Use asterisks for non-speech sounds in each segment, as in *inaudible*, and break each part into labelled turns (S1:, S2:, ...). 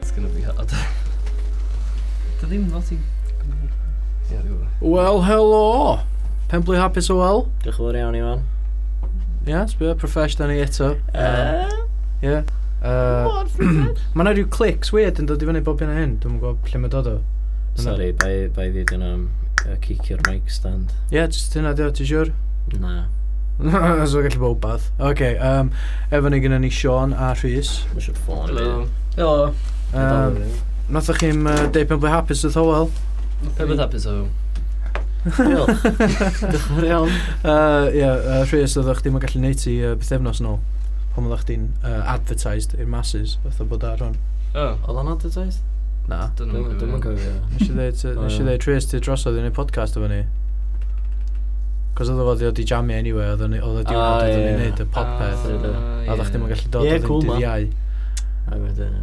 S1: It's gonna be hard. Dy ddim lot i... Ie, dwi'n gwybod.
S2: Wel, helo! Penblu hapus o wel?
S3: Diolch yn fawr iawn i fan.
S2: Ie, yeah, sbio, profesh da ni eto. Ie. Yeah. Uh, *clears throat* mae yna rhyw clics weird yn dod i fyny bob hyn a hyn, dwi'n gwybod lle mae dod o.
S3: Sorry, bai bai fi dyn am uh, cicio'r mic stand.
S2: Ie, yeah, just hynna dio, ti siwr?
S3: Na.
S2: *laughs* so gallu bod bath. Oce, okay, um, efo ni gyda ni Sean a Rhys.
S3: Mae eisiau ffôn.
S1: Hello. Hello.
S2: Um, Nothoch chi'n uh, deud penblu hapus o Hywel?
S1: Pe bydd hapus o hwn?
S3: Diolch. Diolch yn fawr iawn.
S2: Uh, Ie, uh, Rhys, oeddech chdi'n gallu neud ti uh, bythefnos nôl pan oeddech chdi'n uh, advertised i'r masses oedd o bod ar hwn.
S1: O,
S3: Oedd o'n advertised?
S2: Na.
S1: dyn nhw'n
S3: Dwi'n yn
S1: gwybod.
S3: gofio.
S2: Nes i ddeud, uh, nes i ddeud Rhys ti drosodd i wneud podcast efo ni. Cos oedd o fod i oed i jamu anyway, oedd o'n i- oedd o diwrnod
S3: Ah,
S2: oedd o'n
S3: ie.
S2: i'n neud y podpeth.
S3: Ah,
S2: A oeddech chdi'n gallu dod
S3: Ie,
S2: oedd
S3: cool,
S2: Oh, yn dydd
S3: man.
S2: iau.
S3: A wedyn...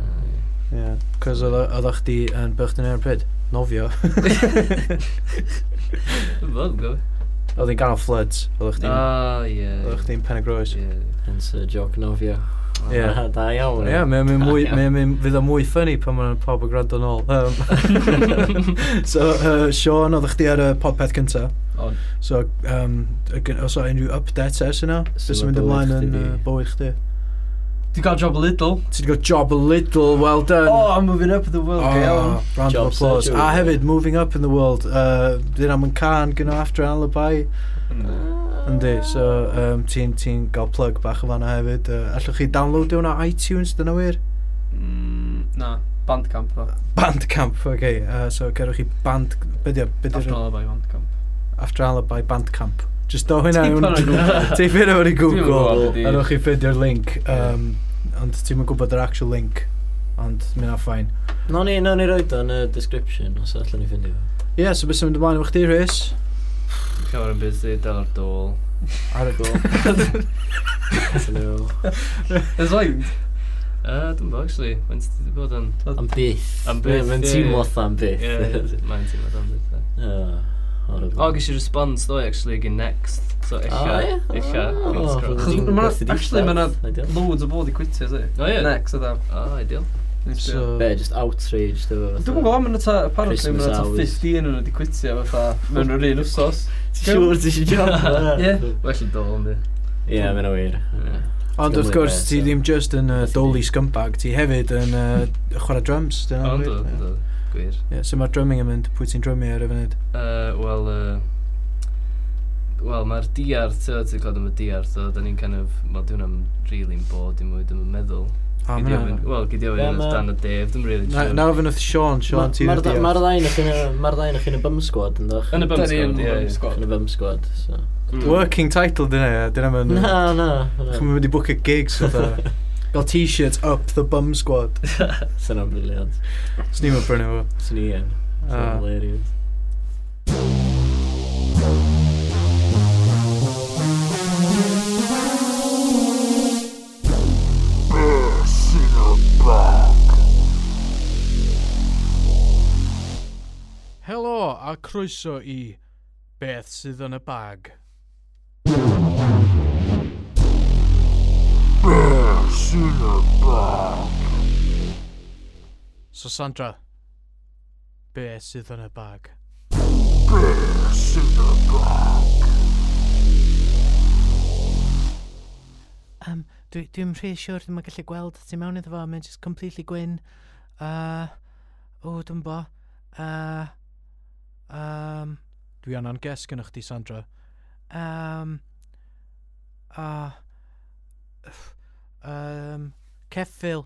S3: yy,
S2: Cos oedd o- oeddech chdi yn bych dyn ar y pryd, nofio. *laughs*
S1: Dwi'n gwybod.
S2: Oedd hi'n ganol floods, oeddech chdi'n
S1: Ah, ie.
S2: oeddech chdi'n pen y groes.
S1: Ie.
S3: Hence y joc nofio.
S2: Ie.
S3: *laughs* Da iawn.
S2: Ie, mae'n mynd mwy,
S3: Da iawn.
S2: mae'n mynd, fydd o mwy ffynnu pan mae'n pawb yn gwrando nôl. Um, *laughs* so, uh, Sean, oeddech chdi ar y podpeth cynta.
S1: O'n.
S2: So, um, y gyn- os o unrhyw updates ers yna,
S3: So
S2: beth sy'n
S3: ma'
S2: mynd
S3: bywyd
S2: ymlaen
S3: chdi
S2: yn
S3: di-
S2: uh, bywyd chdi?
S1: Dwi'n gael job a little.
S2: Ti wedi got job a little, well done.
S1: Oh, I'm moving up in the world,
S2: Oh,
S1: go iawn.
S2: round
S3: Job
S2: of applause.
S3: search,
S2: A
S3: yeah.
S2: hefyd, moving up in the world, uh, dyn am yn can gyno after alibi. Yndi, so um, ti'n ti gael plug bach o fanna hefyd. Uh, allwch chi downloadio hwnna iTunes, dyna wir?
S1: Mm, Na, Bandcamp ddo.
S2: Bandcamp, oce. Okay. Uh, so cerwch chi band... Be di o? Be di'r-
S1: After all about Bandcamp.
S2: After alibi bandcamp. Just do hynna.
S1: Tipyn ar Google.
S2: Oh,
S1: Dwi'm yn gwbod be
S2: *laughs* Ti'n fyr o'r Google.
S1: 'di-
S2: A rwch chi ffeidio'r link. Um, ond ti'n mynd gwybod yr actual link. Ond mi'n a ffain.
S3: No ni, no ni roed o'n y description os allan ni ffindio. fo.
S2: Ie, yeah, so beth sy'n mynd ymlaen efo chdi, Rhys?
S1: Cawr yn busy, dal ar dôl.
S2: Ar y gol.
S3: Allan ni fo.
S1: Ys oed? Uh, dwi'n bo, actually. Mae'n sydd wedi bod yn...
S3: Am byth.
S1: Am byth,
S3: Ie, Mae'n
S1: ie,
S3: teimlo
S1: ie.
S3: am byth.
S1: Ie, mae'n teimlo dan beth.
S3: Ah, horrible.
S1: O, ges i response ddo, actually, gyn next. So,
S3: Ah,
S1: echa,
S3: ie?
S1: echa.
S3: Ah,
S1: fingers crossed.
S3: Dwi'n
S4: Ma' 'na-
S3: gwerthu di
S4: actually, ma' 'na
S3: start, ideal.
S4: loads o bod i quitio, si.
S1: O, ie?
S4: Next, e. ydw.
S1: O, ideal.
S4: Dwi'n
S2: So,
S3: Be, just outraged efo.
S4: gwybod, mae'n ta, apparently
S3: Christmas
S4: mae'n ta
S3: hours.
S4: 15 yn wedi quitio fatha mewn yr un wsos.
S1: *laughs*
S3: Siwr ti eisiau job?
S4: Ie.
S1: Well, yn dol, ynddi.
S3: Ie, mae'n wir.
S2: ond wrth
S3: Gymryd
S2: gwrs,
S3: beth,
S2: ti
S3: so.
S2: ddim just yn uh,
S3: Beth i
S2: doli
S3: ni.
S2: scumbag, ti hefyd yn uh, chwarae drums, dyna.
S1: O,
S2: wir?
S1: ynddo,
S2: Ie.
S1: ynddo. Gwir.
S2: Ie, so mae'r drumming yn mynd, pwy ti'n drumio ar y funud?
S1: Uh, Wel, uh, Wel, mae'r DR, ti'n ti'n clod am y DR, so, da ni'n kind of, wel, dwi'n am really'n bod i mwy, dwi'n meddwl.
S2: A,
S1: Gei di ofyn-
S2: mae'n...
S1: Wel, gyda
S3: Ie,
S1: fi'n
S3: ma-
S1: dan o Dave, dwi'n really
S2: Na- Na ofyn wrth Sean, Sean, ti'n
S3: Mae'r
S2: ddiolch.
S3: ddain o'ch yn y- ma'r ddau o'ch yn y bum squad yn doch.
S1: Yn y bum
S4: Da ni yn
S1: squad, ie,
S4: bum
S1: ie.
S4: squad.
S3: Yn y bum squad, so.
S2: Working title dyna, ie, dyna mae'n...
S3: Na, na.
S2: Chwm yn mynd i book a gigs o dda.
S3: *laughs*
S2: Gael t-shirts up the bum squad.
S3: Sa'n o'n briliant.
S2: Swn i'n mynd brynu fo.
S3: Sa'n i yn.
S2: Ah.
S3: Sa'n hilarious.
S2: Helo a croeso i Beth sydd yn y bag. So Sandra, be sydd yn y bag? Um, dwi, dwi'n rhaid siwr dwi'n gallu gweld ti mewn iddo fo, mae'n just completely gwyn. Uh, o, dwi'n bo. Uh, um, dwi anna'n ges gynnwch chdi, Sandra. Um, uh, um, ceffil.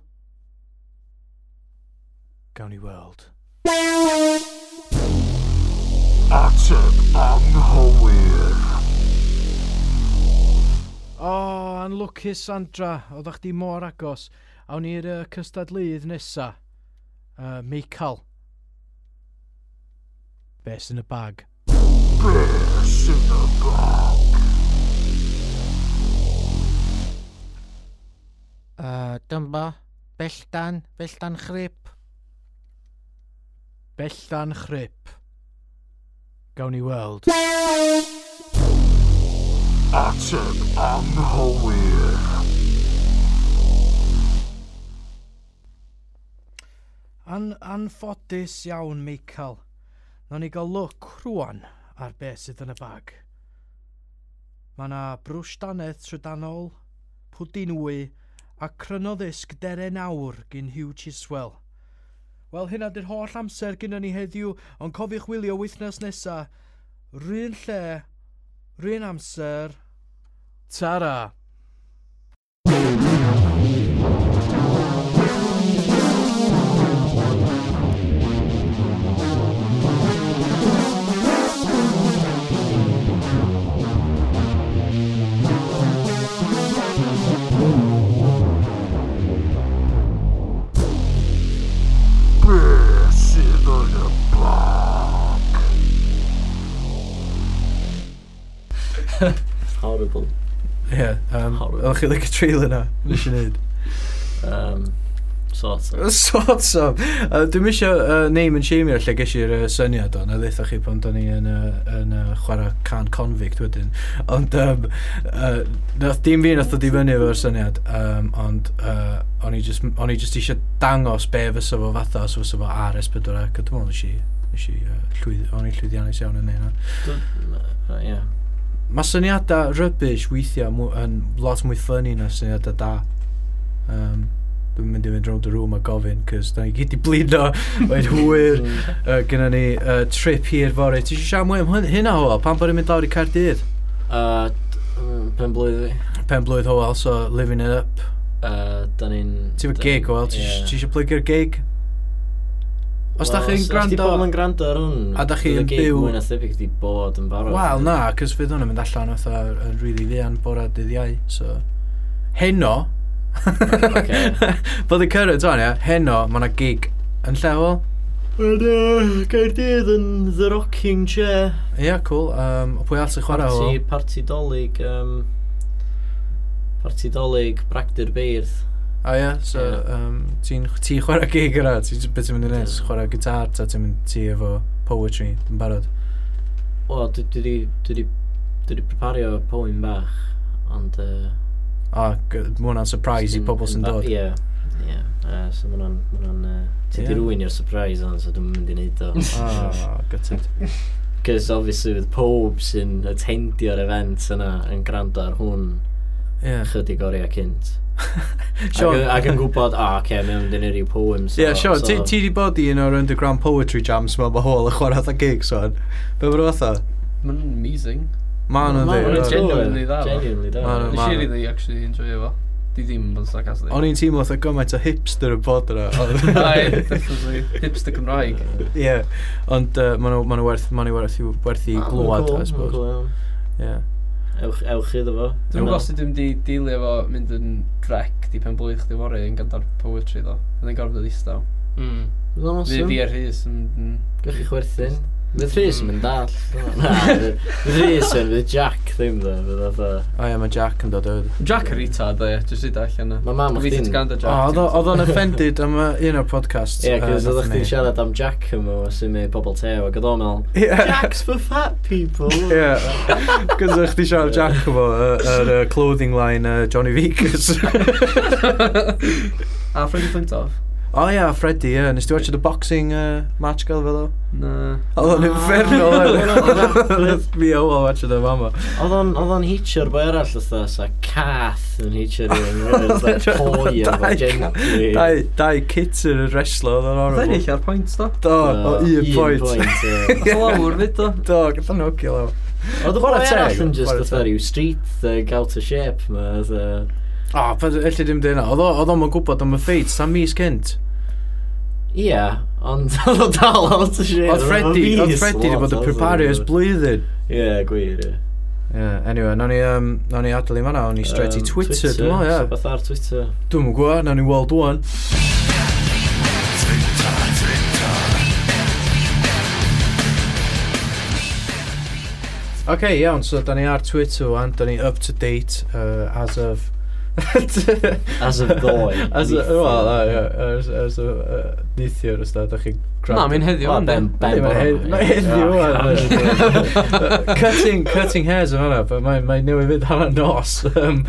S2: Gawn ni weld. O, anlwcus Sandra, oeddech chdi mor agos. Awn ni'r uh, cystadlydd nesa. Uh, Meical. Bes yn y bag. Bes Dyn bo. Belldan. Belldan chrip. Belldan chrip. Gawn ni weld.
S5: Ateb anghywir.
S2: An, anffodus iawn, Michael. Nawn ni gael look rwan ar beth sydd yn y bag. Mae yna brwsh danedd trydanol, pwdin wy a crynoddysg deren awr gyn Hugh Chiswell. Wel, hynna di'r holl amser gyda ni heddiw, ond cofiwch wylio wythnos nesa. Rhyn lle, rhyn amser, tara.
S5: Be sydd yn y bag?
S3: Horrible.
S2: Ie, um,
S3: Horrible. oeddech
S2: chi lygo trailer na? Nes i wneud.
S3: Um, sort
S2: *laughs*
S3: of.
S2: Sort of. Uh, Dwi'n misio uh, name and shame lle ges i'r uh, syniad o, na ddeitha chi pan do'n ni yn, uh, yn uh, chwarae can convict wedyn. Ond um, uh, nath dim fi nath o di fyny efo'r syniad, um, ond uh, o'n i just, o'n i just eisiau dangos be fysa fo fatha os fysa fo ar S4C, a dwi'n meddwl nes i, nes i, uh, llwydd, o'n i llwyddiannus iawn yn neud na.
S3: Right, yeah.
S2: Mae syniadau rubbish weithiau mw- yn lot mwy funny na syniadau da. Um, dwi'n mynd i fynd round y room a gofyn, cys da ni gyd i
S3: *laughs*
S2: blino, mae'n hwyr.
S1: Mm.
S2: Uh, Gynna ni uh, trip hir fory. Ti eisiau siarad mwy am hyn- hynna o? Pan bod i'n mynd lawr i Cardydd?
S3: Uh, d- mm, pen blwydd fi.
S2: Pen blwydd ho, also living it up.
S3: Uh, da ni'n...
S2: Ti'n fawr gig o, wel, ti
S3: Ie.
S2: eisiau plygio'r gig? Os da chi'n
S3: Os di
S2: gwrando...
S3: pobl yn gwrando ar hwn...
S2: A dach chi
S3: fydd y
S2: yn
S3: gig
S2: byw-
S3: Mwy na thebyg di bod yn barod.
S2: Wel, na, cys fydd hwn yn mynd allan fatha yn rili ddian bora dydd iau, so... Heno!
S3: Ocê.
S2: *laughs* Bod y cyrraedd o'n ia, heno, mae yna gig yn lleol.
S3: Wel, uh, Gaerdydd yn The Rocking Chair.
S2: Ia, yeah, cool. Um, pwy all sy'n chwarae ho?
S3: Parti, parti dolyg... Um, parti dolyg Bragdyr Beirdd.
S2: A ia, so
S3: Ie.
S2: um, ti'n ti chwarae gig yna, ti'n beth ti'n mynd i wneud,
S3: Dwi'n-
S2: chwarae gitar, ta ti'n mynd ti efo poetry yn barod.
S3: O, dwi dwi 'di... Dwi 'di- dwi 'di prepario poem bach, ond... Uh,
S2: A g- ma' hwnna'n surprise Ah, i pobl sy'n dod.
S3: Ie, ie. Yy, So ma' hwnna'n... ma' hwnna'n, yy, Ti
S2: Ie.
S3: di rwy'n i'r surprise ond, so dwi'n mynd i neud o.
S2: *laughs* Ah, gutted.
S3: Cos obviously fydd pob sy'n attendio'r event yna yn gwrando ar hwn
S2: Ie.
S3: ychydig oriau cynt. Ac
S2: Sean-
S3: yn- Ac yn gwybod, o, oh, okay, mae'n mynd i neud i'w poems.
S2: Ie, Sean, ti ti di bod i un o'r underground poetry jams ma' ma' hôl y chwarae fatha gigs o'n? Be bod o fatha?
S1: Mae'n amazing.
S2: Ma' nhw'n
S1: Ma' nhw'n
S2: dweud.
S1: genuinely dda, fo.
S3: Genuinely dda.
S2: Ma'
S3: fo.
S2: nhw-
S1: Nes
S2: ma'
S1: i
S2: nhw-
S1: really actually enjoy fo. Di ddim yn sarcastic.
S2: O'n i'n teimlo fatha gymaint o hipster y bod yna. *laughs* ond-
S3: *laughs*
S1: Right, definitely. Hipster Cymraeg.
S2: Ie, ond uh, maen nhw- maen nhw werth, maen nhw werth, i- werth i
S3: Ah, Ma' nhw'n
S2: glwad,
S3: cool,
S2: I
S3: ma' nhw'n
S2: suppose.
S3: cool iawn.
S2: Ie.
S3: Ewch- Ewch iddo fo.
S1: Dwi'n
S3: Dyna-
S1: gwybod sut dwi'n di dealio efo mynd yn drec di pen blwydd chdi fory yn gandar poetry ddo. Dwi'n gorfod dod istaw. Hmm.
S4: Mm.
S3: Fydd o'n
S1: Fi
S3: awesome.
S1: fi ar hys yn... yn-
S3: Gwych chi chwerthin. Fydd Rhys yn mynd *laughs* all. Na, fydd- fydd Rhys yn, fydd Jack ddim dda. Fydd fatha...
S2: O ie, mae Jack yn dod o.
S1: Jack yr ita ddo, ie. Jyst rhaid allan yna.
S3: Ma' mam
S1: Fi
S3: chdi'n-
S1: ti'n ganda
S2: O,
S1: Jack.
S2: oedd o- oedd o'n offended am uh, un o'r podcasts.
S3: Ie,
S2: uh,
S3: cos
S2: nathon
S3: oeddech
S2: ni.
S3: chdi'n siarad am Jack yma sy'n mynd pobl teo ac oedd o'n meddwl
S2: Ie.
S3: Jack's for fat people!
S2: Ie, cos o'ch di siarad Jack efo uh, yr uh, clothing line uh, Johnny Vickers.
S1: *laughs* A Freddy Flintoff?
S2: *laughs* O ia, Freddy, ie. Nes ti watch the boxing uh, match gael fel o?
S1: Na.
S2: Oedd o'n
S3: Na.
S2: infernal.
S3: Oedd
S2: oedd. Mi o o watch the mama.
S3: *laughs* Oedd o'n oedd o'n hitio'r boi arall oedd sa cath yn hitio *laughs* rhywun oedd o'n poi efo gently
S2: Dau, dau kitten yn wrestler, oedd o'n
S1: Oedd
S2: horrible.
S1: ennill ar pwynt do.
S2: Do,
S3: Ah,
S2: o un point.
S3: ie.
S1: Oedd
S2: *laughs*
S1: lawr fyd do.
S2: Do, gath o'n hwcio law.
S3: Oedd y boi
S2: Chwarae teg,
S3: arall yn just
S2: chwarae
S3: oedd
S2: teg.
S3: ryw street thug out of shape ma oedd yy,
S2: O, pa elli ddim dyna. Oedd o- oedd o'n ma'n gwybod am y ffeit, sa mis cynt.
S3: Ie, ond *laughs* oedd o'n dal out of shape
S2: Oedd Freddy,
S3: o'n
S2: oedd
S3: fis
S2: Freddy wedi
S3: lot,
S2: bod yn
S3: oedd o'n-
S2: prepario ys blwyddyn.
S3: Ie, gwir ie
S2: Yeah, anyway, nawn ni, um, nawn ni adael i fanna, nawn ni straight i
S3: Yym,
S2: Twitter, dwi'n meddwl,
S3: so
S2: ie.
S3: beth Um, ar Twitter
S2: Dwi'n mwyn gwybod, nawn ni World One. Oce, okay, iawn, so da ni ar Twitter wan, da ni up to date uh, as of...
S3: As of ddoe.
S2: As a, wel, na, ie, ers, ers y yy, uh, neithiwr os da, da chi'n
S1: Na, mi'n heddiw
S2: e.
S3: Wel,
S1: yn
S3: ben- ben-
S2: Mae heddi- mae heddi
S3: Ah, *laughs*
S2: ŵan. *laughs* Cutting, cutting hairs yn hwnna, but mae, mae newydd fydd hwnna nos. Um,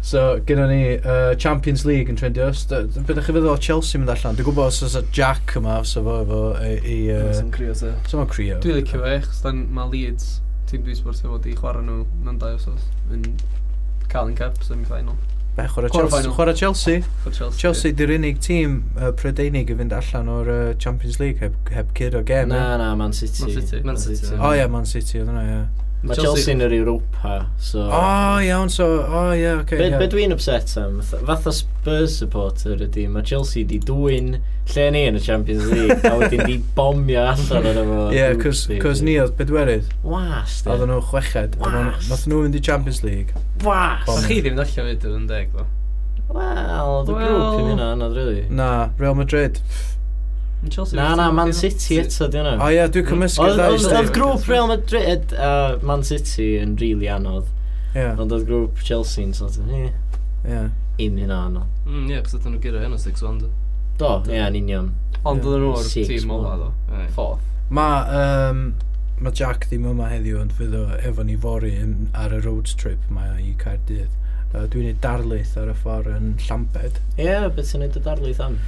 S2: so, gyda ni uh, Champions League yn trendio. S- d- d- Be da chi feddwl o Chelsea mynd allan? Dwi'n gwybod os oes y Jack yma, os efo efo i... i
S4: Oes
S2: uh,
S4: yn crio te.
S2: Sa'm o'n crio.
S1: Dwi'n licio fe, chos dan mae Leeds, tîm dwi'n sbwrs efo, di chwarae nhw mewn dau osos yn Carling Cup, semi-final.
S2: Be, chwarae
S1: Quarter
S2: Chelsea.
S1: final.
S2: Chwarae Chelsea.
S1: For Chelsea.
S2: Chelsea di'r unig tîm uh, Prydeinig i fynd allan o'r uh, Champions League heb, heb cyd o gem.
S3: Na, na, Man City.
S1: Man City.
S4: Man City.
S2: O oh, ie, yeah, Man City oedd hwnna, ie. Yeah.
S3: Mae Chelsea yn yr Europa, so...
S2: O, oh, iawn, so, o oh, ie, yeah, oce.
S3: Be,
S2: Okay,
S3: be
S2: yeah.
S3: dwi'n upset am, fatha- fatha Spurs supporter ydy, mae Chelsea di dwy'n lle ni yn y Champions League, a wedyn di bomio allan yn efo.
S2: Ie, yeah, cos, cos ni oedd bedwerydd.
S3: Was,
S2: Oedden
S3: de.
S2: nhw chweched. oedden nhw-
S3: Was.
S2: Nath nhw fynd i Champions League.
S3: Was!
S2: Bom.
S1: A chi ddim ddallan fyd yn deg, ddo.
S3: Wel, dy grŵp i
S1: Wel.
S3: mi na, anodd rydw
S2: Na, Real Madrid.
S1: Yn Chelsea
S3: Na,
S1: wedi
S3: na,
S1: dod
S3: Man
S1: i'r
S3: City
S1: final.
S3: eto di
S2: O
S3: hwnna.
S2: oh, ie, yeah, dwi'n cymysgu
S3: Oedd-
S2: ddau
S3: oedd-
S2: sti.
S3: Oedd grŵp Real Madrid a Man City yn rili anodd,
S2: Ie,
S3: ond oedd grŵp Chelsea'n sort of, eh,
S2: ie.
S3: im hynna anodd.
S1: Hmm,
S4: Mm, ie, cos ydyn nhw gyda heno 6-1.
S3: Do, ie, yn union.
S1: Ond oedd nhw'r
S3: Six,
S1: tîm ola,
S3: wel.
S1: ddo. Fourth.
S2: Ma, um, ma Jack ddim yma heddiw ond fydd o efo ni fory yn- ar y road trip mae i Caerdydd. Uh, dwi'n ei darlith ar y ffordd yn Llambed.
S3: Ie, beth sy'n neud y darlith am?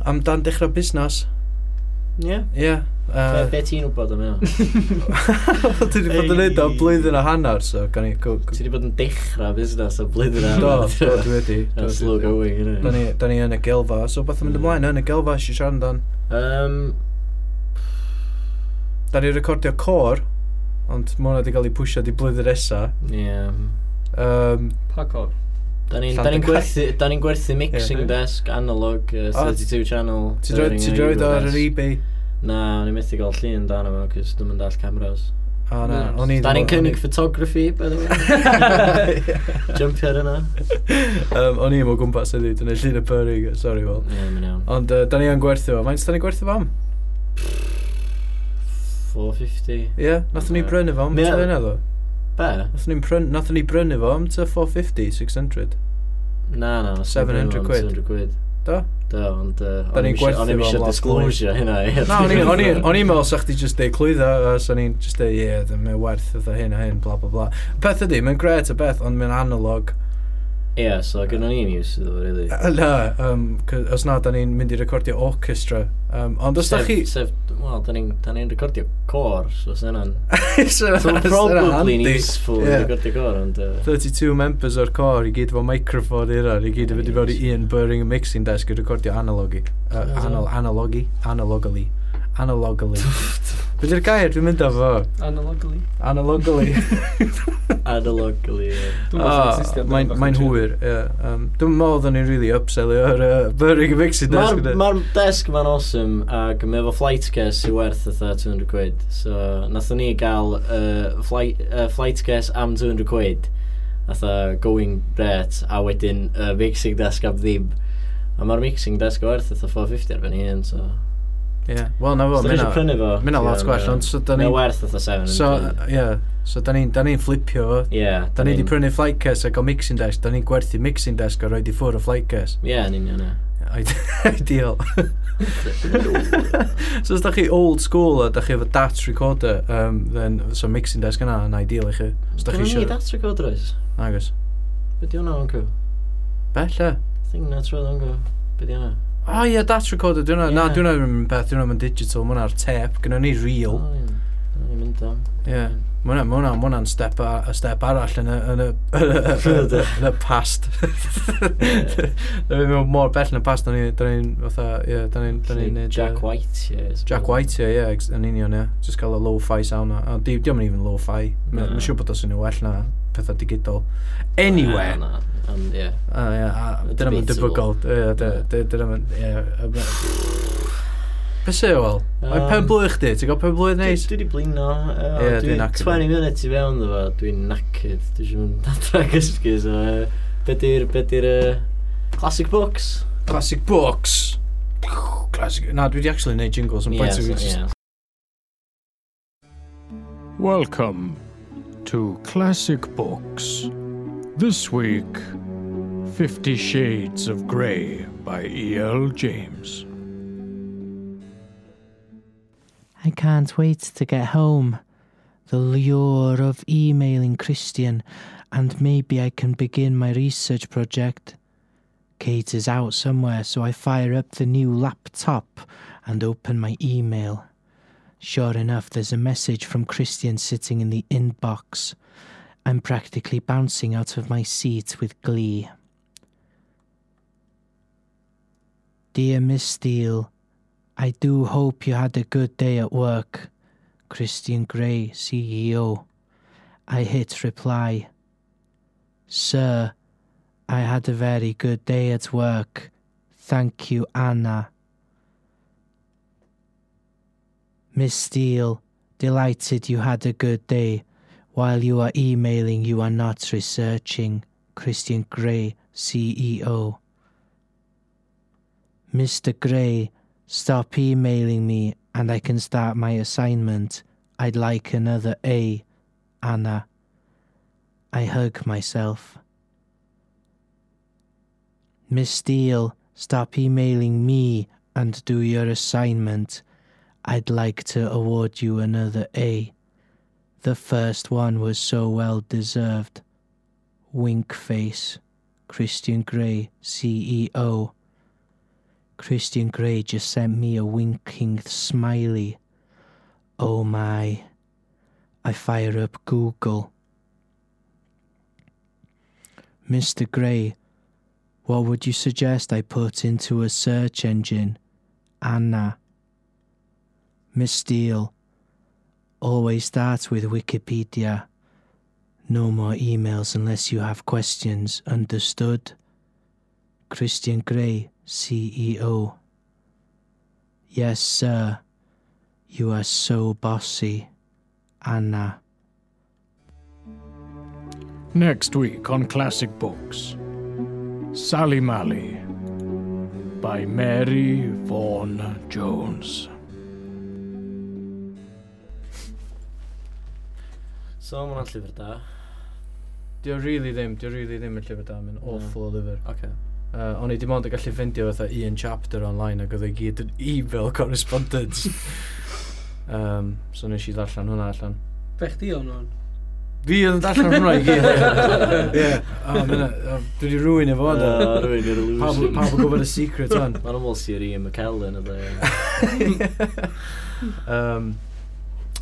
S2: Am dan dechrau busnes,
S3: Ie.
S2: ie. Yeah,
S3: Be-
S2: uh,
S3: Be ti'n wybod am *laughs* hynna?
S2: *laughs* dwi wedi bod yn neud o blwyddyn a hanner, so gan i... go- go-
S3: Ti wedi bod yn dechrau busnes o blwyddyn
S2: Do, do, dwi wedi. do,
S3: Yn
S2: dwi
S3: slow
S2: wedi.
S3: going,
S2: Da
S3: yna.
S2: ni, da ni yn y gilfa, so beth yn mynd ymlaen yn y gilfa eisiau siarad amdan.
S3: Um,
S2: Da ni'n recordio cor, ond mae hwnna wedi cael ei pwysio di blwyddyn nesa.
S3: ie.
S2: Um,
S1: Pa cor?
S3: Da ni'n
S2: Llan
S3: da ni'n
S2: dy
S3: gwerthu, da ni'n gwerthu
S2: Ie.
S3: mixing desk, analog, uh,
S2: O,
S3: 32 channel.
S2: Ti droi
S3: pairing
S2: ti
S3: a
S2: droi
S3: Euro
S2: o ar yr
S3: desk.
S2: ebay?
S3: Na, o'n i'n methu gael llun dan yma, cos dwi'n mynd all cameras.
S2: O na,
S1: Na,
S2: o'n i...
S3: Da ni'n
S2: o'n i-
S3: cynnig photography, by the way.
S2: *laughs*
S3: Jumpio ar yna.
S2: Yym, O'n i ddim o gwmpas ydi, dyna llun y pyrrig, sorry wel.
S3: Ie, mae'n iawn.
S2: Ond uh, da ni yn gwerthu fo, faint da ni'n gwerthu fo am?
S3: 450.
S2: Ie, yeah, nathon ni
S3: Ie.
S2: brynu fo am
S3: Ie.
S2: ty yna ddo.
S3: Be?
S2: Nathon ni'n pryn- nathon ni brynu fo am ty 450, 600.
S3: Na, na. os
S2: 700
S3: dwi'n
S2: quid.
S3: gwneud o'n 700 quid.
S2: Do?
S3: Do, ond... yy,
S2: Da
S3: o'n
S2: ni'n
S3: i'm isio-
S2: gwerthu
S3: O'n i'n
S2: fo am lot
S3: eisiau
S2: mwy.
S3: disclosure hynna.
S2: Na, o'n i- o'n
S3: *laughs*
S2: i- o'n i'n meddwl sa'ch ti just deud clwyddo, a sa'n i'n just deud, ie, yeah, mae'n werth oedd hyn a hyn, bla bla bla. Peth ydi, mae'n gret y beth, ond mae'n analog.
S3: Ie, so gynnon ni'n iws iddo, fo, really.
S2: Yy, *laughs* Na, um, os na, da ni'n mynd i recordio orchestra. Um, ond os da
S3: Sef-
S2: *laughs* chi...
S3: Sef, wel, da ni'n da ni'n recordio cor, so
S2: *laughs*
S3: sy'n yna'n...
S2: So
S3: So
S2: that's
S3: probably
S2: handy.
S3: yn useful
S2: Ie.
S3: i recordio cor,
S2: *laughs*
S3: ond... yy,
S2: 32 members o'r cor i gyd efo microphone i'r ar, i gyd efo wedi bod i Ian Burring y mixing desk i recordio analogi. Uh, anal, analogi? Analogally. Analogally. Be di'r gair dwi'n mynd efo?
S1: Analogally.
S3: *laughs*
S2: Analogally.
S3: Analogically, ie.
S1: Dwi'n meddwl sy'n
S2: Ah,
S1: existio, dwi'n
S2: Mae'n
S1: bach yn
S2: mae'n
S1: chill.
S2: hwyr, ie. Um, Dwi'n meddwl oedden ni'n really upselio o'r uh, Burring y mixing desk.
S3: Ma'r
S2: gyda-
S3: ma desk ma'n awesome, ac mae efo flight case sy'n werth ytho 200 quid. So, nathon ni gael uh, flight, uh, flight case am 200 quid, atho going rate, a wedyn uh, mixing desk am ddim. A mae'r mixing desk o werth ytho 450 ar ben i un, so...
S2: Ie, wel na fo,
S3: Os da ni isio prynu fo...
S2: ma' hynna lot
S3: ie,
S2: gwell,
S3: ma'
S2: ond so da ni-
S3: Mae werth ytho 700.
S2: So, ie, so da ni'n da ni flipio fo.
S3: Ie.
S2: Da ni wedi
S3: ni'n-
S2: prynu flight case ac o mixing desk, da ni'n gwerthu mixing desk a roed i ffwr o flight case.
S3: Ie, yn union, ie.
S2: Ide- *laughs* Ideal. so os da chi old school a da chi efo DAT recorder, um, then, so mixing desk yna yn ideal i chi. Os da chi
S3: Dwi'n
S2: eisiau...
S3: dat record oes.
S2: Agos.
S3: Be di hwnna onco?
S2: Be, lle?
S3: Thing na troedd onco. Be di hwnna?
S2: O ie, DAT recorder, dwi'n na,
S3: Ie.
S2: dwi'n na yn beth, dwi'n na'n digital, mae hwnna'r tape, gyda ni
S3: O,
S2: real.
S3: ie. Dyna ni'n mynd am.
S2: Ie. Mae hwnna, mae hwnna, mae hwnna'n step, a, a step arall yn y, yn y, *laughs* yn y, yn y past. *laughs* Dwi'n mynd mor bell yn y past, da ni'n, da ni'n, fatha, ie, da ni'n, da ni'n... neud,
S3: Jack
S2: yy,
S3: White, ie. is-
S2: Jack White, ie, ie, ex- yn union, ie. Just cael y low-fi sound na. Ond di- diom yn even low-fi.
S3: Na.
S2: Mae'n siŵr bod os yn well na pethau digidol.
S3: Na,
S2: Anyway.
S3: na, Ond, ie.
S2: A, ie, a dyna mae'n debygol.
S3: Debatable.
S2: Ie, dy- dy- dyna mae'n, ie. y- y- Be se, wel? Mae
S3: Um,
S2: pen blwydd chdi, ti'n gael pen blwydd neis?
S3: Dwi wedi blino.
S2: Ie,
S3: Ie,
S2: dwi'n
S3: dwi'n
S2: knackered.
S3: 20 minutes i fewn ddo fo. Dwi'n knackered. Dwi eisiau mynd *laughs* adra gysgu. So, yy, be di'r... Be di'r... yy, Classic books.
S2: Classic books. Classic. Na, dwi wedi actually neud jingles yn
S3: Ie,
S2: pwynt.
S3: so,
S2: Ie,
S3: ie.
S6: Welcome to Classic Books. This week, Fifty Shades of Grey by E.L. James.
S7: I can't wait to get home. The lure of emailing Christian, and maybe I can begin my research project. Kate is out somewhere, so I fire up the new laptop and open my email. Sure enough, there's a message from Christian sitting in the inbox. I'm practically bouncing out of my seat with glee. Dear Miss Steele, I do hope you had a good day at work. Christian Grey, CEO. E I hit reply. Sir, I had a very good day at work. Thank you, Anna. Miss Steele, delighted you had a good day. While you are emailing, you are not researching. Christian Grey, CEO. Mr. Grey, Stop emailing me and I can start my assignment. I'd like another A, Anna. I hug myself. Miss Steele, stop emailing me and do your assignment. I'd like to award you another A. The first one was so well deserved. Wink face. Christian Grey, E CEO. Christian Grey just sent me a winking smiley. Oh my. I fire up Google. Mr. Grey, what would you suggest I put into a search engine? Anna. Miss Steele, always start with Wikipedia. No more emails unless you have questions, understood? Christian Grey, CEO. Yes, sir. You are so bossy, Anna.
S6: Next week on Classic Books Sally Mally by Mary Vaughan Jones.
S3: So, mae'n llyfr da.
S2: Dio really ddim, dio really ddim yn llyfr da, mae'n awful o lyfr.
S3: Oce. Okay.
S2: Uh, o'n i dim ond yn gallu ffindio fatha un chapter online ac oedd e gyd yn evil *laughs* correspondence. *laughs* um, so nes i ddarllen hwnna allan.
S1: Bech di o'n hwn.
S2: Fi oedd yn darllen hwnna i gyd. *laughs*
S1: *laughs*
S2: Ie. O, ma' hynna- o, Dwi wedi rwy'n efo ond.
S3: Uh, rwy'n i'r
S2: Pawb
S3: illusion.
S2: pawb yn gwybod y *laughs*
S3: *laughs*
S2: secret o'n.
S3: Mae'n aml sy'n Ian McKellen ydw i.
S2: um,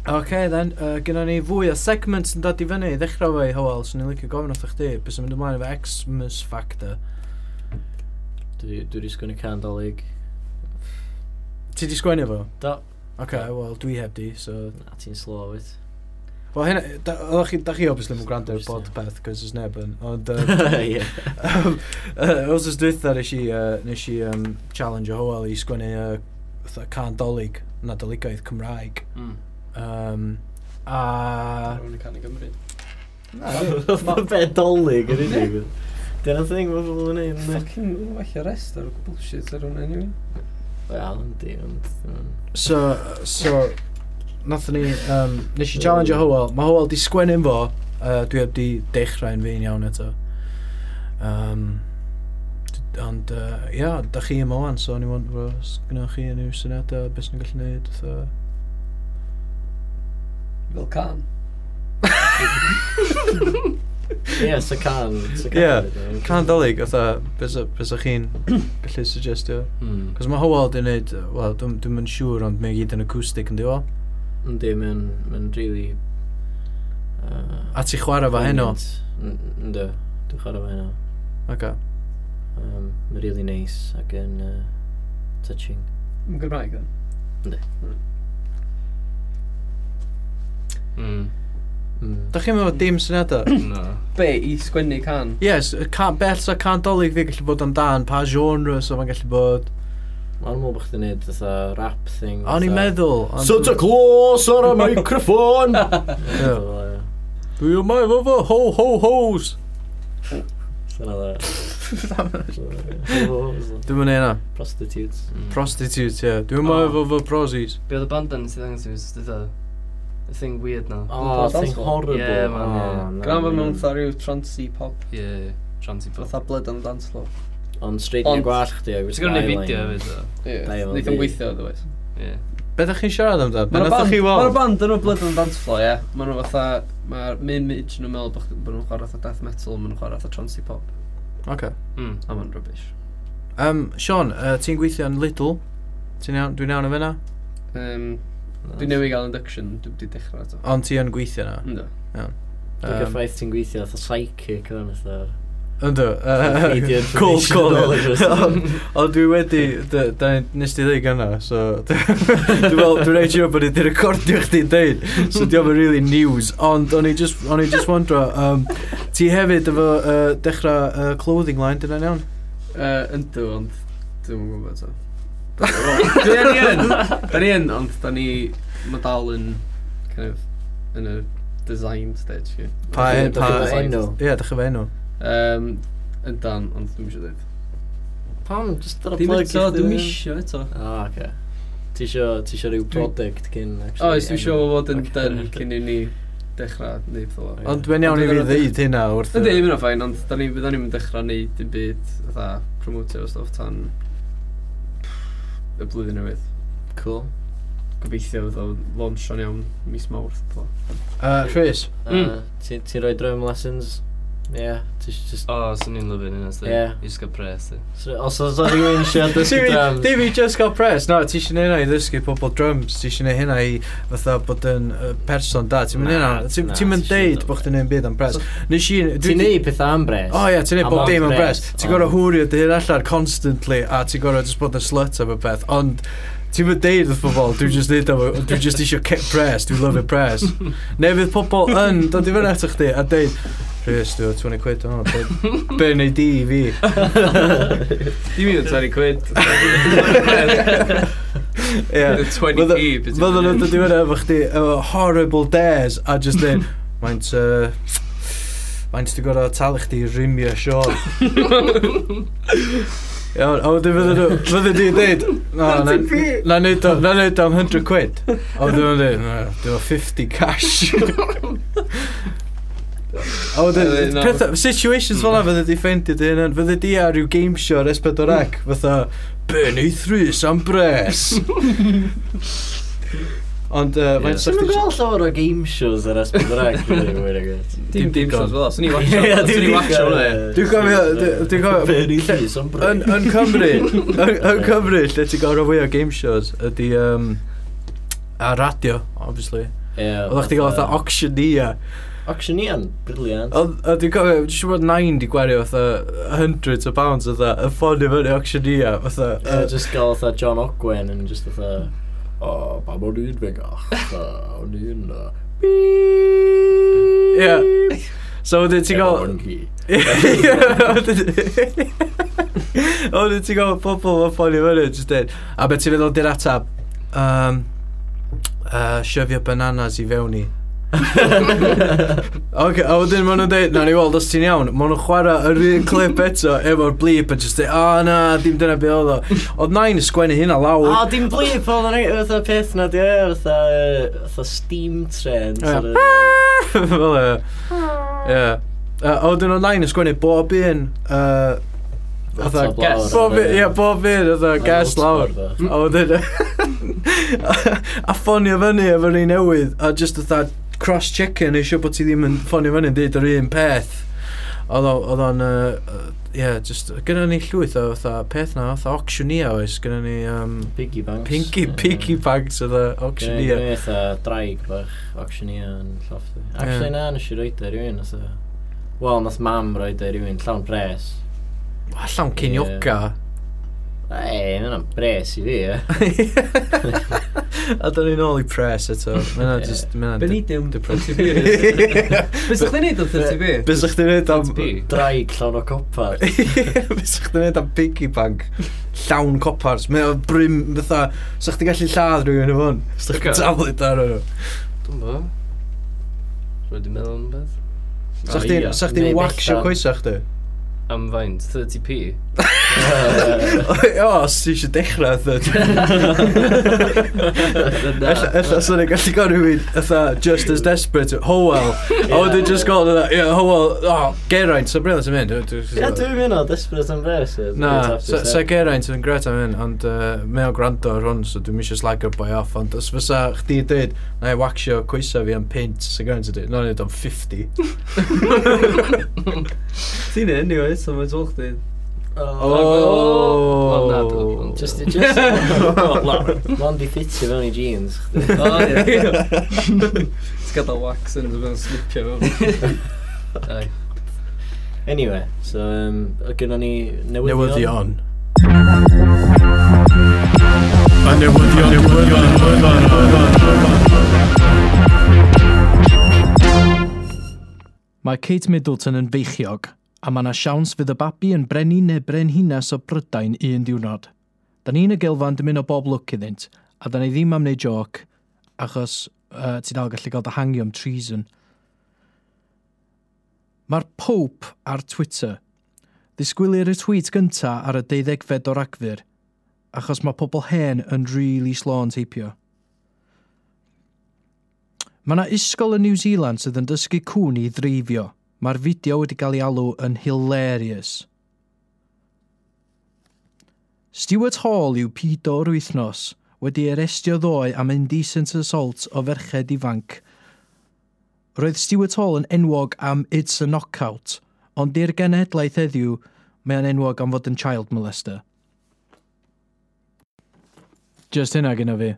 S2: OK, then, uh, gyda ni fwy o segments yn dod i fyny. I Ddechrau fo i Howell, so ni'n licio gofyn wrth chdi. Bys yn mynd ymlaen efo Xmas Factor.
S3: Dwi wedi sgwini candolig.
S2: Ti di sgwennu fo?
S3: Do.
S2: OK, wel, dwi heb di, so...
S3: Na, ti'n slow it.
S2: Wel, hynna, da, oeddech chi, da chi obviously yn gwrando ar
S3: Obviously.
S2: bod peth, cos ys neb yn,
S3: *laughs*
S2: ond... Ie.
S3: Ie.
S2: Os ys dwytha, nes i, uh, nes i um, challenge o Howell i sgwennu uh, fatha can dolyg, nadoligaidd Cymraeg.
S1: Hmm.
S4: Mm.
S2: Um, a...
S1: Rwy'n cael ei Gymru.
S3: Mae bedolig yn unig. Dyna thing mae pobl yn ei wneud.
S1: Fucking, nhw'n falle rest ar o'r bullshit ar hwnna, anyway.
S3: Wel, yndi, ond... mm.
S2: So, so, nath ni, um, nes i challenge o Howell. Mae Howell di sgwennu'n fo, uh, dwi heb di dechrau'n fi'n iawn eto. Um, d- ond, uh, ia, da chi yma wan, so ni'n wond, os gynnwch chi unrhyw syniadau, beth sy'n gallu gwneud, fatha...
S1: Fel can.
S3: Ie, so can. so
S2: Ie,
S3: can ydi o.
S2: Can dolyg, fatha, beth sy'n chi'n gallu suggestio?
S4: Mm.
S1: Hmm.
S2: Cos mae Howell di wneud, wel, dwi'n dwi siŵr, ond mae gyd yn acoustic yn diwa.
S3: Yndi, mae'n... Mae'n really... uh,
S2: A ti chwarae fa heno?
S3: poignant. N- Yndw, dwi'n chwarae fa heno.
S2: Okay.
S3: Um, mae'n really nice ac yn uh, touching.
S1: Yn Gymraeg, then. Hmm.
S4: Mm.
S3: Mm.
S2: Da chi'n meddwl dim syniadau?
S4: No.
S1: Be i sgwennu can?
S2: Yes, y can, bell sa candolig fi gallu bod amdan, pa genre so mae'n gallu bod.
S3: Mae'n mwyn bod chdi'n neud fatha rap thing.
S2: O'n i'n meddwl... ond-
S3: Claus ar y
S6: *laughs*
S3: microphone!
S2: Ie. Dwi yma efo fo, ho ho hos!
S3: Dyna dda.
S2: Dwi'n mynd eina,
S3: Prostitutes.
S2: prostitute, ie. Dwi yma
S4: O.
S2: efo fo prosis.
S4: Be oedd y band yn sydd angen sy'n fydd y thing weird na.
S3: Oh,
S1: Dance
S3: thing
S1: floor.
S3: horrible.
S4: Yeah, man, yeah.
S3: Oh, no,
S1: Gwna fod
S3: man.
S1: mewn fatha rhyw trancy pop.
S4: Yeah. Transi bod.
S1: Fatha blood on the dance floor.
S3: Ond straight neu
S1: Ond-
S3: gwallt chdi o'i
S4: Ti'n gwneud fideo hefyd o?
S1: Ie,
S3: Da iawn,
S1: wneud yn
S3: fi.
S1: weithio, dweud.
S4: Ie.
S2: Be da chi'n siarad amdano? Be
S1: Mae'n
S2: nath
S1: band,
S2: chi
S1: ma
S2: weld?
S1: band yn o blood on the dance floor, ie. Mae'n nhw fatha, mae'r mimage nhw'n meddwl bod nhw'n chwarae fatha death metal, mae'n nhw'n chwarae fatha transi pop.
S2: Okay.
S4: Mm.
S1: A mae'n rubbish.
S2: Um, Sean, uh, ti'n gweithio yn Lidl? Ti'n iawn? Dwi'n iawn o fyna?
S1: Um, Dwi newy gael induction, dwi wedi dechrau eto.
S2: Ond ti yn gweithio na?
S1: Ynddo.
S2: Um,
S3: Dwi'n gyffaith ti'n gweithio fatha psychic o'n fatha.
S2: Ynddo.
S3: Media
S2: *laughs* Cold
S3: information
S2: caller.
S3: knowledge or
S2: *laughs* Ond
S3: something.
S2: ond dwi wedi... dy- da- Nes ti ddeud gynna, so... *laughs* Dwi'n fel- dwi'n rhaid siŵr bod ni wedi recordio chdi deud, so diolch yn really news. Ond o'n i just, o'n i just wondro, um, ti hefyd efo uh, dechrau uh, clothing line, dyna'n iawn?
S1: Uh, ynddo, ond dwi'n yn gwybod eto. Dwi ni yn, da ni yn, ond da ni, mae dal yn, kind of, yn y design stage. ie.
S2: Pa, e-
S3: Dach chi-
S2: pa,
S3: dach chi efo enw?
S2: Ie, dach efo enw.
S1: Um, yn dan, ond dwi'n eisiau dweud.
S3: Pam, just dyna
S1: Dim
S3: plug
S1: eto,
S3: i chdi.
S1: dwi'n eisiau eto.
S3: O, oce. Ti isio, ti isio rhyw product cyn... actually
S1: Oes, dwi'n
S3: enw?
S1: siŵr fod yn
S3: Ocê.
S1: dyn cyn i ni dechrau neud fel o.
S3: Ie.
S2: Ond dwi'n iawn i fi ddeud hynna wrth...
S1: Ydy, mae'n o ffain, ond da ni fydda ni'n dechrau neud dim byd, fatha, promotio o stuff tan y blwyddyn newydd.
S3: Cool.
S1: Gobeithio fydd o launch o'n iawn mis mawrth. fel.
S2: Uh, Rhys,
S3: Uh, ti- Ti'n rhoi drum lessons? Ie, ti isio just...
S4: O, swn i'n lyfyn yna, sti.
S3: Ie.
S4: I just got press, sti.
S3: So- Os oes o'n rhywun
S1: *laughs*
S3: eisiau dysgu drums...
S2: Dim i just got press. No, ti eisiau neud hynna i ddysgu pobl drums. Ti eisiau neud hynna i fatha bod yn uh, person da. Ti'n mynd
S3: Na,
S2: hynna. Ti'n
S3: na,
S2: ti'n mynd
S3: ti isio
S2: deud
S3: neud
S2: bod chdi'n neud byd am press. Nes i... dwi-
S3: Ti'n neud pethau am bres?
S2: O ie, ti'n neud
S3: Am
S2: bob
S3: am
S2: dim am bres.
S3: bres,
S2: Ti'n
S3: o.
S2: gorau hwrio dy hyn allan constantly a ti'n gorau just bod yn slut am y peth. Ond ti'n mynd deud wrth pobl, dwi'n just neud am... y- Dwi'n just eisiau kick press. Dwi'n love it press. Neu fydd pobl yn dod i fyny ato chdi a deud Rhys, dwi'n 20 quid o'n hwn. Be wneud di i fi?
S1: *laughs* Dim un o 20 quid.
S2: *laughs* Ie.
S1: Fydd o 20
S2: Fydda-
S1: i. beth
S2: Fydden nhw'n
S1: yw'n
S2: dod i fyny efo chdi efo horrible dares a just dweud Maent uh, Maent ti gorau talu chdi i rimio Sean Iawn, a wedyn fydden nhw Fydden di dweud "Na, na- Na neud o- na neud o am 100 quid A wedyn nhw'n dweud Na, dwi'n o 50 cash A
S1: Yy,
S2: wedyn,
S1: na.
S2: pethau- situations fel na fydde di ffeindio dy hynny, fydde di ar ryw game show ar S4C, fatha, be neud thrys am bres? Ond, uh, mae'n
S3: Ti'n mynd gweld llawer o game shows ar S4C?
S1: Dim dim
S2: digon.
S1: shows fel o. Swn i watcho. Swn i watcho hwnna.
S2: Dwi'n cofio- dwi- dwi'n cofio-
S3: Berry Llys am bres.
S2: Yn, yn
S3: *laughs*
S2: Cymru, yn, yn Cymru, lle ti'n gael rhan fwy o game shows, ydy, um, a radio, obviously. Oeddech chdi gael fatha auctioneer.
S3: Auctionian, briliant.
S2: Oedd- A dwi'n cofio, dwi'n siŵr bod 9 di gwario fatha hundreds o pounds fatha, y ffordd i fyny auctioneer, fatha.
S3: Ie,
S2: yy,
S3: just gael fatha John Ogwen yn just fatha... O, pam o'n i'n fegach? O'n i'n...
S2: Ie. So wedyn ti'n gael... *laughs* Ond ti'n gwybod pobl o ffordd i fyny Just dweud A beth ti'n feddwl di'r atab um, uh, Shyfio bananas i fewn i Ok, a wedyn maen nhw'n dweud Na ni weld os ti'n iawn Maen nhw'n chwarae yr un clip eto Efo'r blip A just dweud O na, dim dyna be oedd o Oedd nain sgwennu hynna lawr
S3: O, dim blip, oedd yna fatha peth na di, ie, fatha, yy, fatha steam trains.
S2: Ie.
S3: ar y-
S2: *laughs* Fel e Ie Yy, A wedyn oedd nain yn sgwennu bob un yy, Fatha
S3: Atab lawr,
S2: gas Bob un,
S3: ie.
S2: ie, bob un Fatha
S3: Ar y
S2: gas lawr
S3: hotspot,
S2: A wedyn *laughs* A ffonio fyny efo'r un newydd A just fatha cross chicken Ei siw bod ti ddim yn ffonio fyny yn Deud yr un peth Oedd o- oedd o'n yy, yy, Ie, just Gynna ni llwyth o fatha peth na Fatha auctioneer oes Gynna ni yym,
S3: Piggy banks.
S2: Pinky, pinky bags Fatha
S3: Auctioneer.
S2: auctioneer
S3: Gwneud eitha draig bach, auctioneer yn llofft. Actually,
S2: Ie.
S3: na, nes i roed e rhywun, oedd Wel, nath mam roed e rhywun, llawn bres.
S2: Allawn cinioca
S3: Ei, mae'n bres i fi,
S2: *laughs*
S3: ie.
S2: A da ni'n ôl i pres eto. Mae'n just... Mae'n
S1: Be ni dim. *laughs* Bys
S2: Bys
S1: ydych chi'n neud am 30 fi?
S2: ych ti'n neud am... *laughs*
S4: Be?
S3: Draig llawn o copar.
S2: Bys ych ti'n neud am piggy bank? Llawn copars. Mae o brym fatha... Sa'ch ti'n gallu lladd rhywun o fwn? Sa'ch
S4: Ocê.
S2: ti'n tablet ar nhw?
S4: Dwi'n bo. Rwy'n di meddwl am beth.
S2: Sa'ch ti'n... Sa'ch
S3: Neu
S2: ti'n waxio
S3: belltan.
S2: coesach chdi?
S4: am faint? 30p?
S2: O, os ti eisiau dechrau
S4: *laughs*
S3: Na.
S2: Ella sy'n ei gallu gael rhywun Ytha, just as desperate Howell A wedyn just gael yna Ie, Howell oh, O, Geraint So bryd ti'n mynd
S3: Ie, dwi'n mynd o Desperate Embarrassed.
S2: Na, sa sa Geraint yn gret am hyn Ond yy, mae o gwrando ar hwn So dwi'n eisiau slagio'r boi off Ond os fysa chdi dweud Na i waxio coesau fi am pint Sa Geraint yn dweud No, nid am
S4: *laughs*
S2: 50
S1: Ti'n un, anyway, so mae'n tol chdi.
S4: Wel, na, dw-
S2: Oh.
S4: ond-
S3: Oh, Just,
S2: *laughs*
S3: just, Mondi ffitio fewn i jeans. chdi.
S1: *laughs* O, ie. *laughs* Ti'n gadael wax yn ymwneud yn slipio fewn.
S4: Ai.
S3: Anyway, so, um, o gynnon ni newyddion.
S2: Newyddion
S6: A newyddion, newyddion, newyddion, newyddion.
S7: Mae Kate Middleton yn feichiog, a mae yna siawns fydd y babi yn brenu neu brenhines o Brydain un diwrnod. Da ni'n y gilfan dim un o bob lwc iddynt, a da ni ddim am wneud joc, achos uh, ti dal gallu gael dy hangio am treason. Mae'r Pope ar Twitter. Disgwylir y tweet gynta ar y 12fed o ragfyr, achos mae pobl hen yn rili really slo yn teipio. Mae yna isgol yn New Zealand sydd yn dysgu cwn i ddreifio. Mae'r fideo wedi cael ei alw yn hilarious. Stuart Hall yw pido o'r wythnos wedi arestio ddoe am indecent assault o ferched ifanc. Roedd Stuart Hall yn enwog am It's a Knockout, ond i'r genedlaeth heddiw, mae o'n enwog am fod yn child molester. Just hynna gyda fi.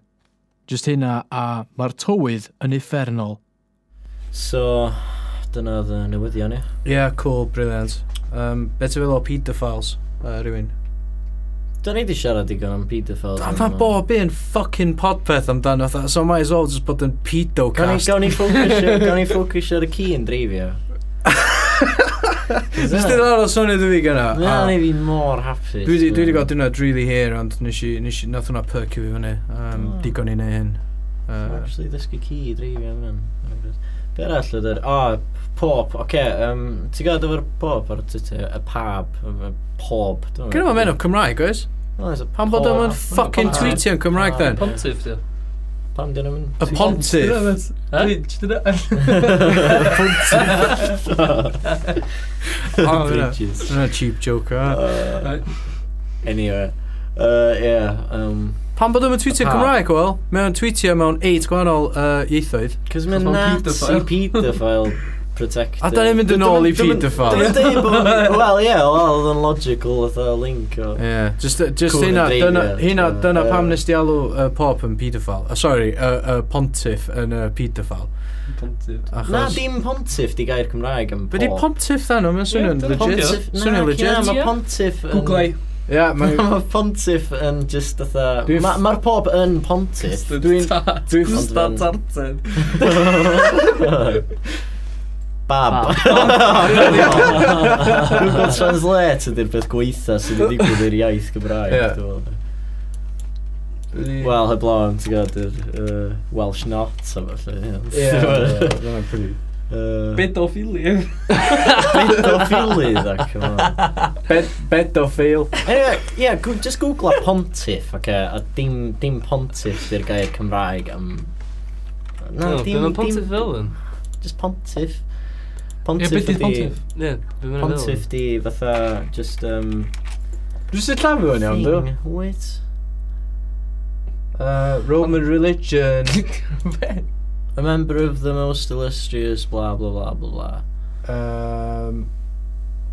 S7: Just hynna a mae'r tywydd yn effernol.
S3: So, dyna oedd y newyddion, ie.
S2: Ie, yeah, cool, brilliant um, Be ti'n feddwl o pedophiles, uh, rhywun?
S3: Dyna ni wedi siarad digon am pedophiles.
S2: A mae bob un fucking podpeth amdano fatha, so might as well just bod yn pedo
S3: Gawn ni,
S2: cast.
S3: gawn ni ffocysio,
S2: *laughs*
S3: gawn ni ffocysio ar y ci yn dreifio.
S2: Nes ti'n lawr o swnio dwi fi gyna?
S3: Na, ni fi mor hapus.
S2: Ah. Dwi wedi dwi gael dyna really here, ond nes i, nes i, nath hwnna perk i fi fyny, um,
S3: Oh.
S2: digon i neu hyn. Uh,
S3: Actually, ddysgu ci i dreifio am hynny. Be arall oedd yr... O, pop, oce. um, Ti'n gael efo'r pop ar Twitter? Y pab, y pob.
S2: Gynna ma'n menw Cymraeg, oes? Pam bod o'n fucking
S4: Pam-
S2: tweetio'n Cymraeg then?
S4: Pontif, di o.
S3: Ah, Pam dyn nhw'n...
S2: Y *laughs* pontiff.
S3: *laughs*
S2: *laughs* Oh, hwnna.
S3: Bridges.
S2: Hwnna cheap joke, ah. ha?
S3: Uh, Anyway. Uh, yeah, um...
S2: Pam bod o'n tweetio'n
S3: Pa?
S2: Cymraeg, wel? Mae'n tweetio mewn 8 gwahanol uh, ieithoedd.
S3: Cos mae'n
S1: Achos mae'n
S3: nats i
S2: *laughs*
S3: pedophile protector.
S2: A da ni'n mynd yn ôl i
S3: Dwi'n
S2: pedophile.
S3: deud bod...
S2: *laughs*
S3: Wel, ie, wel, oedd yn logical oedd y link o...
S2: Yeah, just, just
S3: Cool
S2: hynna,
S3: indeed,
S2: dyna,
S3: yeah.
S2: hynna,
S3: Uh,
S2: dyna pam
S3: uh,
S2: nes di alw uh, pop yn pedophile. Uh, sorry, uh, uh, pontiff yn uh, pedophile.
S1: Pontif.
S2: Achos...
S3: Na, dim pontiff di gair Cymraeg yn
S2: Be di pontiff dda nhw, mae'n swnio'n
S4: Ie, dyna
S2: legit.
S3: Pontiff-
S2: Swnio'n
S3: Na,
S2: legit.
S3: cyn na,
S4: ie.
S3: mae pontiff yn... *laughs*
S1: Googlai.
S2: Ia, mae'n...
S3: Mae pontiff yn just atha...
S2: Dwi'n-
S3: Mae'r ma pob yn pontiff.
S1: Dwi'n... Dwi'n
S3: Ond
S1: stat
S3: fe'n-
S1: arten.
S3: *laughs* Bab. Google Translate ydy'r beth gweitha sydd wedi digwydd i'r iaith Gymraeg.
S2: Ie.
S3: dwi'n meddwl. Wel, heblaw am, ti'n gwybod, yr uh, Welsh Knot a felly.
S2: Ie, dyna'n pretty.
S3: Bit
S1: Bedophilium.
S3: o ffili, dda, come on.
S2: Bedophile.
S3: Anyway, yeah, go, just googla pontiff, oce, okay, a dim, dim pontiff di'r gair Cymraeg am... Na,
S4: No,
S3: dim,
S4: Dwi'n
S3: dim,
S4: mynd pontif fel yn.
S3: just pontiff.
S4: Ie,
S3: Pontiff
S4: beth di
S3: ydi...
S4: pontif? Ie, dwi'n mynd fel *laughs* yn.
S3: Pontiff di fatha, just, um...
S2: Dwi'n sy'n llafu fo'n iawn, dwi?
S3: thing. Wait.
S2: Uh, Roman religion.
S3: A member of the most illustrious, blah, blah, blah, blah, blah.
S2: um,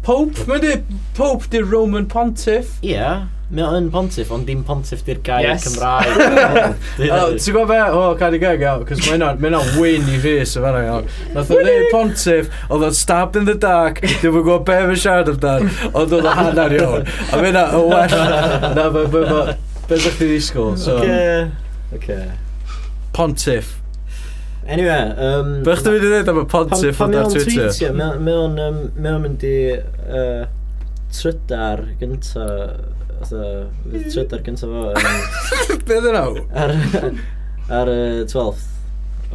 S2: Pope, mae di... Pope di Roman pontiff.
S3: Ie, yeah, mae o'n pontiff, ond dim pontiff di'r gair
S1: Yes.
S2: *laughs*
S3: Cymraeg.
S2: Oh, Ti'n gwybod be? O, cad i gag iawn, cos mae'n o'n win i fi, so fan iawn. Nath o ddeud pontiff, oedd o'n stabbed in the dark, dwi'n fwy gwybod be fe siarad amdan, ond oedd o hanner iawn. A mae'n o well, na, mae'n fwy Beth ydych chi ddisgwyl? So,
S3: Okay. Okay.
S2: Pontiff.
S3: Anyway, um...
S2: Bych dwi'n mynd i ddweud am y pontiff ond ar Twitter.
S3: Mewn, um, mewn mynd i uh, trydar gynta, otha, fydd trydar gynta fo
S2: *laughs*
S3: um,
S2: Beth yn awr?
S3: ar, ar y 12th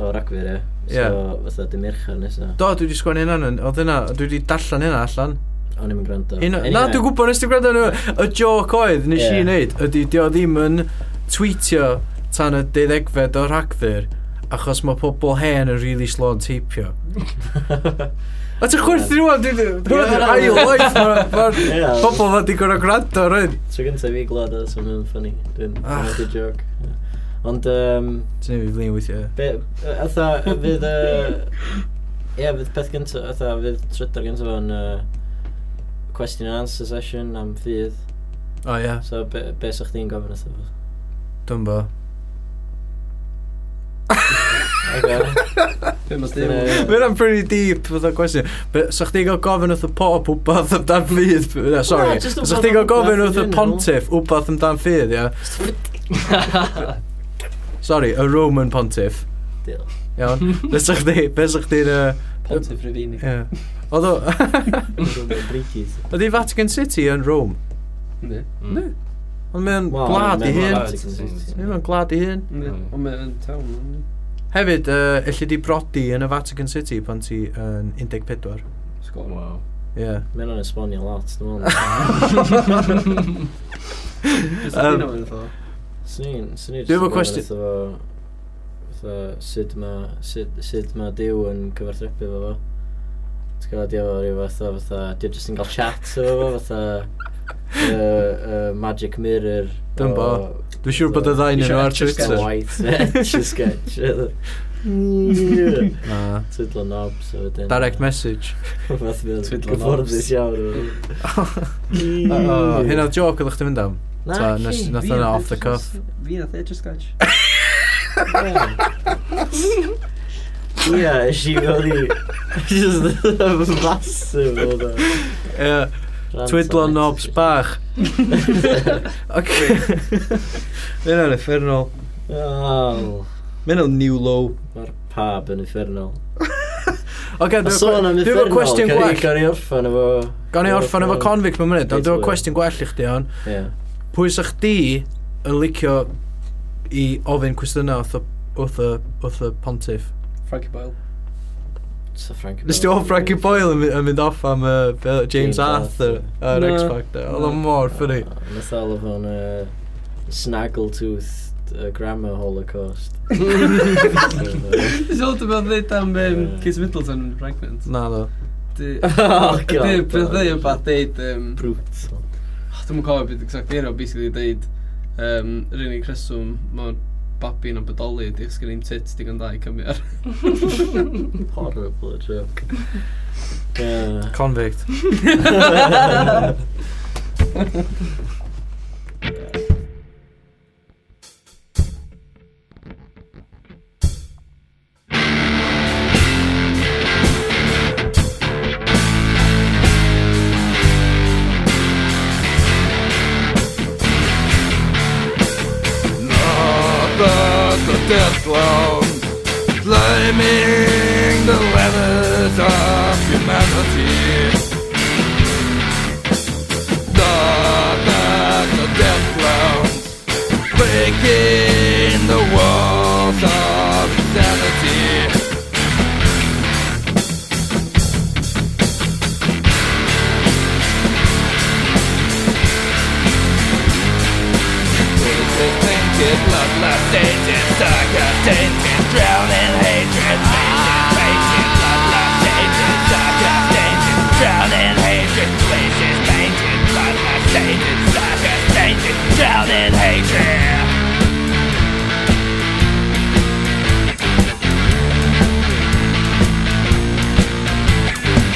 S3: o Ragfyr, ie. So,
S2: Ie.
S3: fatha, dim mercher nesaf.
S2: Do, dwi wedi sgwennu hynna, yn- oedd hynna, dwi wedi darllen hynna allan.
S3: O'n i'n gwrando.
S2: Un, anyway. Na, dwi'n gwybod nes ti'n gwrando nhw. Y joc oedd nes
S3: Ie.
S2: i wneud, ydy, di o ddim yn tweetio tan y deuddegfed o rhagfyr, achos mae pobl hen yn really slow yn teipio.
S3: *laughs*
S2: A ti'n chwerthu rwan, dwi'n dwi'n ail oed, mae'r
S3: Ie.
S2: pobl fa di gwrdd gwrando rwy'n.
S3: Tro gyntaf fi glod oedd sy'n mynd ffynnu. Dwi'n
S2: Ach.
S3: gwneud y joc. Ie. Ond, um,
S2: Ti'n ei fi flin weithio.
S3: be, yy, atha, fydd,
S2: *laughs*
S3: yy, ie, fydd peth gyntaf, atha, fydd trydar gyntaf o'n yy, question and answer session am fydd.
S2: O ie,
S3: So, be, be sa'ch di'n gofyn atho fo?
S2: dwi'n bo.
S3: Okay.
S2: *laughs*
S1: Be mae'n
S3: Dyna-
S1: ddim.
S2: Mae'n am pretty deep, fydd o gwestiwn. Be- Sa'ch ti'n gael gofyn wrth y pop wbath amdan ffydd? Na, sorry.
S3: Na, jyst wbath
S2: Sa'ch ti'n gael gofyn
S3: am
S2: wrth y
S3: wbath yn
S2: pontiff wbath amdan ffydd, ie? Sorry, y Roman pontiff.
S3: Diolch. *laughs*
S2: Iawn. Beth sa'ch di, beth sa'ch di'n...
S1: Pontif Rufini.
S2: Ie. Oedd o... *laughs*
S3: Brigis.
S2: Oedd i Vatican City yn Rome?
S1: Ne.
S2: Ne. Ond mae'n
S3: Wel,
S2: glad i
S3: mae'n
S2: hyn.
S3: glad.
S2: Mae'n glad i hyn.
S1: Ne. Ond mae'n tawn. yndi?
S2: Hefyd, uh, illi di brodi yn y Vatican City pan ti yn 14.
S1: Sgol.
S4: Wow.
S2: Ie.
S3: *laughs* Mae'n o'n esbonio lot, dwi'n meddwl.
S2: *laughs*
S3: *laughs*
S1: Beth
S2: Yym,
S1: ydy'n awyn o?
S3: Swn i'n... swn i'n
S2: Dwi efo
S3: jyst yn
S2: cwestiwn-
S3: gofyn wrtho fo, fatha, sut ma, sut, sut ma Dyw yn cyfarthrebu fo fo. T'w gwybod, di efo rhyw fath o fatha, di o jyst yn cael chat efo fo, fatha, y y magic mirror.
S2: Dyn bo. Dwi'n siŵr bod y ddau yn nhw ar
S3: Twitter.
S2: Twitter.
S3: *laughs* White, sketch.
S2: *laughs*
S3: Twiddlo
S2: Na.
S3: knobs a wedyn.
S2: Direct
S3: *laughs*
S2: message. *laughs*
S3: Fath fydd
S1: Twiddlo
S3: gyfforddus iawn.
S2: O, Hyn oedd joc oedd chdi fynd am.
S3: Na,
S2: Ta,
S3: ci.
S2: nes- nath hwnna off the cuff.
S1: Fi nath edrych scratch.
S3: Ie, eisiau fel i... Just *laughs* massive e. o da.
S2: Ie. Twiddlo knobs
S3: *laughs*
S2: bach. Ok. Mae'n o'n effernol.
S3: Oh,
S2: Mae'n o'n new low.
S3: mae'r pab yn uffernol.
S2: Ok,
S3: A sôn am
S2: dwi'n
S3: uffernol,
S2: efo cwestiwn gwell.
S3: Gawn i orffan efo...
S2: Gawn i orffan efo convict mewn munud, ond
S3: Reit,
S2: dwi'n
S3: wel.
S2: efo cwestiwn gwell i chdi on.
S3: Ie.
S2: Pwy sa chdi yn licio i ofyn cwestiynau wrth y- wrth y wrth y pontiff?
S1: Frankie Boyle.
S3: So Frankie
S2: Nes ti o Frankie Boyle yn my- yn mynd off am uh, fel James
S3: James
S2: Arthur ar
S1: Na.
S2: X Factor. Oedd o'n
S1: Na.
S2: mor ffynnu.
S3: Nath all of o'n uh, Snaggletooth uh, Grammar
S2: *laughs*
S3: Holocaust. *laughs*
S1: Dwi'n siŵr dwi'n meddwl dweud am um,
S3: Ie.
S1: Case Middleton yn pregnant.
S2: Na ddo.
S1: Di...
S3: Oh, God.
S1: Di, beth dweud e yn bach dweud... Um,
S3: Brutal.
S1: Oh, Dwi'n cofio beth exact eiro, basically dweud um, yr unig reswm mae babi yn bodoli di sgen i'm tit digon da i cymryd ar.
S3: Horrible joke. Yeah.
S2: Convict.
S6: Not the death clown climbing the ladders of humanity. Not the death clowns breaking the walls of insanity. Faces painted, bloodlust tainted, sucker tainted, drown in hatred. Faces painted, bloodlust tainted, sucker tainted, drown in hatred. Faces painted, bloodlust tainted, sucker tainted, drown in hatred.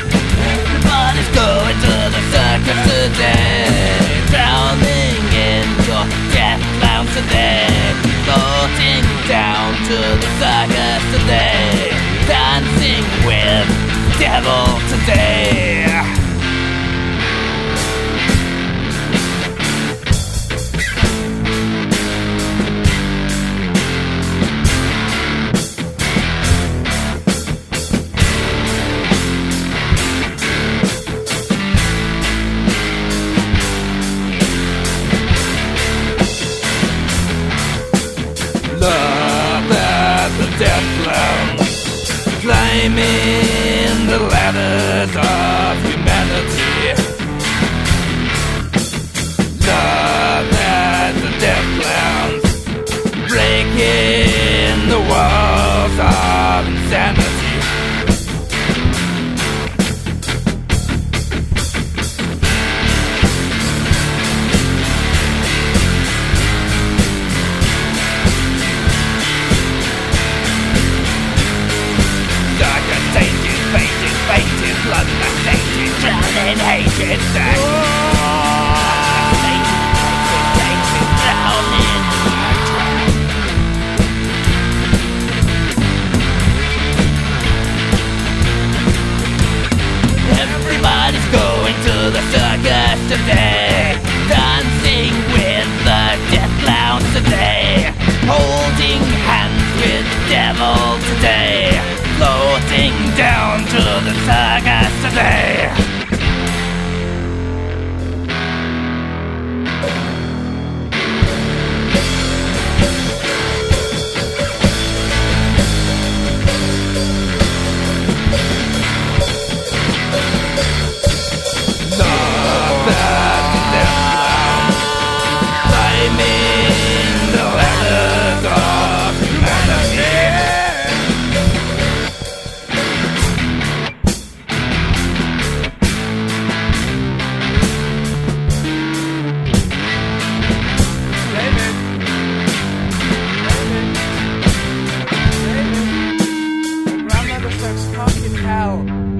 S6: Everybody's going to the circus today. Drowning in your death clowns today. Floating down to the circus today. Dancing with devil today. Love at the death clown. Climbing the ladders of hatred sack. Satan, hatred, hatred, drown in hatred. Everybody's going to the circus today. Dancing with the death clowns today. Holding hands with the devil today. Floating down to the circus today. Climbing the ladders of humanity.
S8: Grandmother sucks cock in hell.